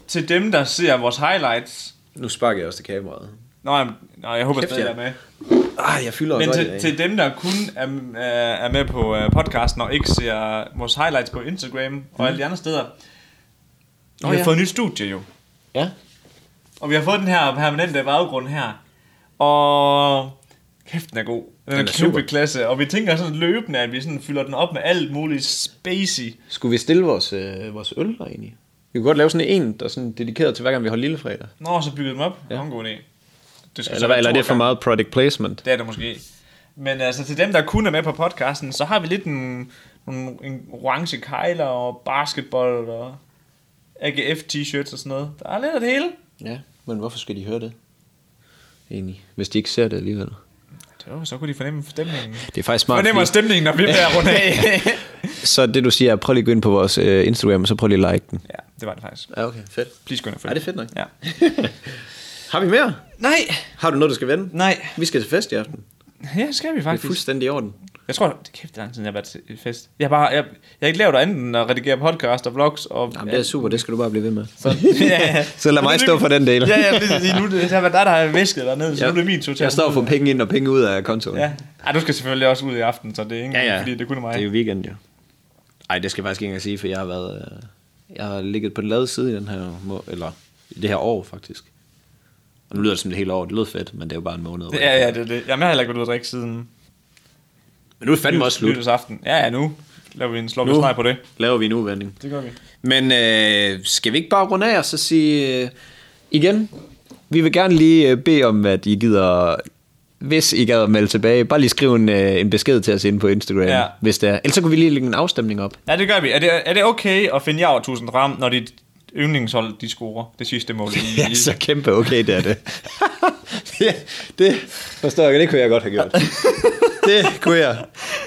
S2: Til dem, der ser vores highlights.
S1: Nu sparker jeg også til kameraet.
S2: Nå, jamen, nå jeg håber
S1: Kæft,
S2: stadig,
S1: ja.
S2: jeg er med.
S1: Ah, jeg fylder
S2: Men
S1: godt i
S2: til,
S1: dag.
S2: til dem, der kun er, er- er med på øh, podcasten og ikke ser vores highlights på Instagram og alle de andre steder. Mhm. Vi har
S1: ja.
S2: fået et nyt studie jo.
S1: Ja.
S2: Og vi har fået den her permanente baggrund her. Og kæft, den er god.
S1: Den
S2: Den, er,
S1: er
S2: er
S1: super.
S2: kæmpe klasse. Og vi tænker sådan løbende, at vi sådan fylder den op med alt muligt spacey.
S1: Skulle vi stille vores, øh, vores øl der egentlig? Vi kunne godt lave sådan en, der er sådan dedikeret til hver gang vi har lillefredag.
S2: Nå, så bygger vi dem op. Ja. Nå, en god idé. Det skal så
S1: Eller,
S2: være
S1: hvad, eller er
S2: to
S1: det for
S2: gange.
S1: meget product placement?
S2: Det er det måske. Men altså til dem, der kun er med på podcasten, så har vi lidt en, en, en orange kejler og basketball og AGF t-shirts og sådan noget. Der er lidt af det hele.
S1: Ja, men hvorfor skal de høre det? Egentlig, hvis de ikke ser det alligevel.
S2: Det var, så kunne de fornemme stemningen.
S1: Det er faktisk smart.
S2: Fornemmer stemningen, når vi er ved at runde af.
S1: Så det du siger er, prøv lige at gå ind på vores øh, Instagram, og så prøv lige at like den.
S2: ja, det var det faktisk.
S1: Ja, okay, fedt.
S2: Please gå ind og følg.
S1: Ja, det er fedt nok.
S2: Ja.
S1: Har vi mere?
S2: Nej,
S1: Har du noget, du skal vende?
S2: nej.
S1: Vi skal til fest i aften. Det
S2: Ja, det skal vi
S1: er
S2: faktisk.
S1: fuldstændig i orden.
S2: Jeg tror, det er kæft det er lang tid, siden jeg har været til fest. Jeg har, bare, jeg, jeg har ikke lavet andet end at redigere podcast og vlogs. Og,
S1: Jamen, det er super, det skal du bare blive ved med.
S2: Så, ja.
S1: Så lad
S2: Men
S1: mig
S2: det er
S1: stå
S2: min-
S1: for den del.
S2: Ja, ja, det skal sige, nu er det, det har været dig, der har væsket dernede, så nu er det min tur til
S1: Jeg
S2: at-
S1: står for penge ind og penge ud af kontoen.
S2: Ja. Ej, du skal selvfølgelig også ud i aften, så det er ikke ja, ja. fordi, det kun er mig.
S1: Det er jo weekend, jo. Ej, det skal jeg faktisk ikke engang sige, for jeg har været... øh, Jeg har ligget på den lade side i den her... må- Eller i det her år, faktisk. Og nu lyder det som det hele år. Det lød fedt, men det er jo bare en måned.
S2: Ja, ja, det er det. Jamen, jeg har heller ikke været ude at drikke siden
S1: Men nu er det fandme også slut.
S2: aften. Ja, ja, nu laver vi en slå
S1: Nu.
S2: nu. på det.
S1: Laver vi en udvending.
S2: Det gør vi.
S1: Men øh, skal vi ikke bare runde af og så sige øh, igen? Vi vil gerne lige øh, bede om, at I gider, hvis I gad at melde tilbage, bare lige skrive en, øh, en besked til os inde på Instagram, ja.
S2: Ja.
S1: hvis det er. Ellers så kunne vi lige lægge en afstemning op.
S2: Ja, det gør vi. Er det, er det okay at finde jer over 1000 frem, når dit yndlingshold, de scorer det sidste mål? I,
S1: Ja, så kæmpe okay, det er det. det, det forstår jeg, ikke. det kunne jeg godt have gjort. det kunne jeg.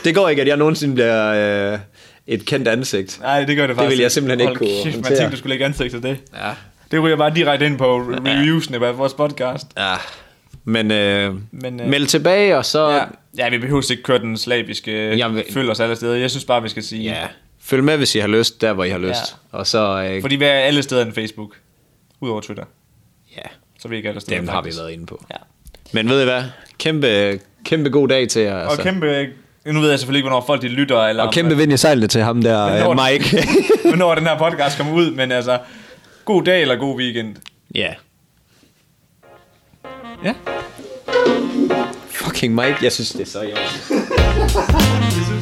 S1: Det går ikke, at jeg nogensinde bliver øh, et kendt ansigt.
S2: Nej, det gør det faktisk.
S1: vil jeg simpelthen ikke kunne
S2: Hold kæft, man
S1: håndtere.
S2: tænkte, du skulle lægge ansigt til det.
S1: Ja.
S2: Det ryger bare direkte ind på reviewsene af vores podcast.
S1: ja. Ah, Men, øh, Men
S2: Men,
S1: øh,
S2: øh,
S1: meld tilbage, og så...
S2: Ja, ja vi behøver ikke køre den slaviske
S1: Jeg vil-
S2: følg os alle steder. Jeg synes bare, vi skal sige...
S1: Ja. Følg med, hvis I har lyst, der hvor I har lyst. Ja. Og så, øh,
S2: Fordi vi er alle steder end Facebook. Udover Twitter.
S1: ja,
S2: Så er vi ikke alle steder.
S1: dem har vi
S2: faktisk.
S1: været inde på.
S2: Ja.
S1: Men ved I hvad? Kæmpe, kæmpe god dag til jer. altså.
S2: Og kæmpe... Nu ved jeg selvfølgelig ikke, hvornår folk de lytter, eller
S1: og kæmpe vind i sejlet til ham der, øh,
S2: Hvornår-
S1: Mike.
S2: hvornår den her podcast kommer ud, men altså, god dag eller god weekend.
S1: ja.
S2: Ja.
S1: Fucking Mike, jeg synes, det er så i orden.
S2: Det synes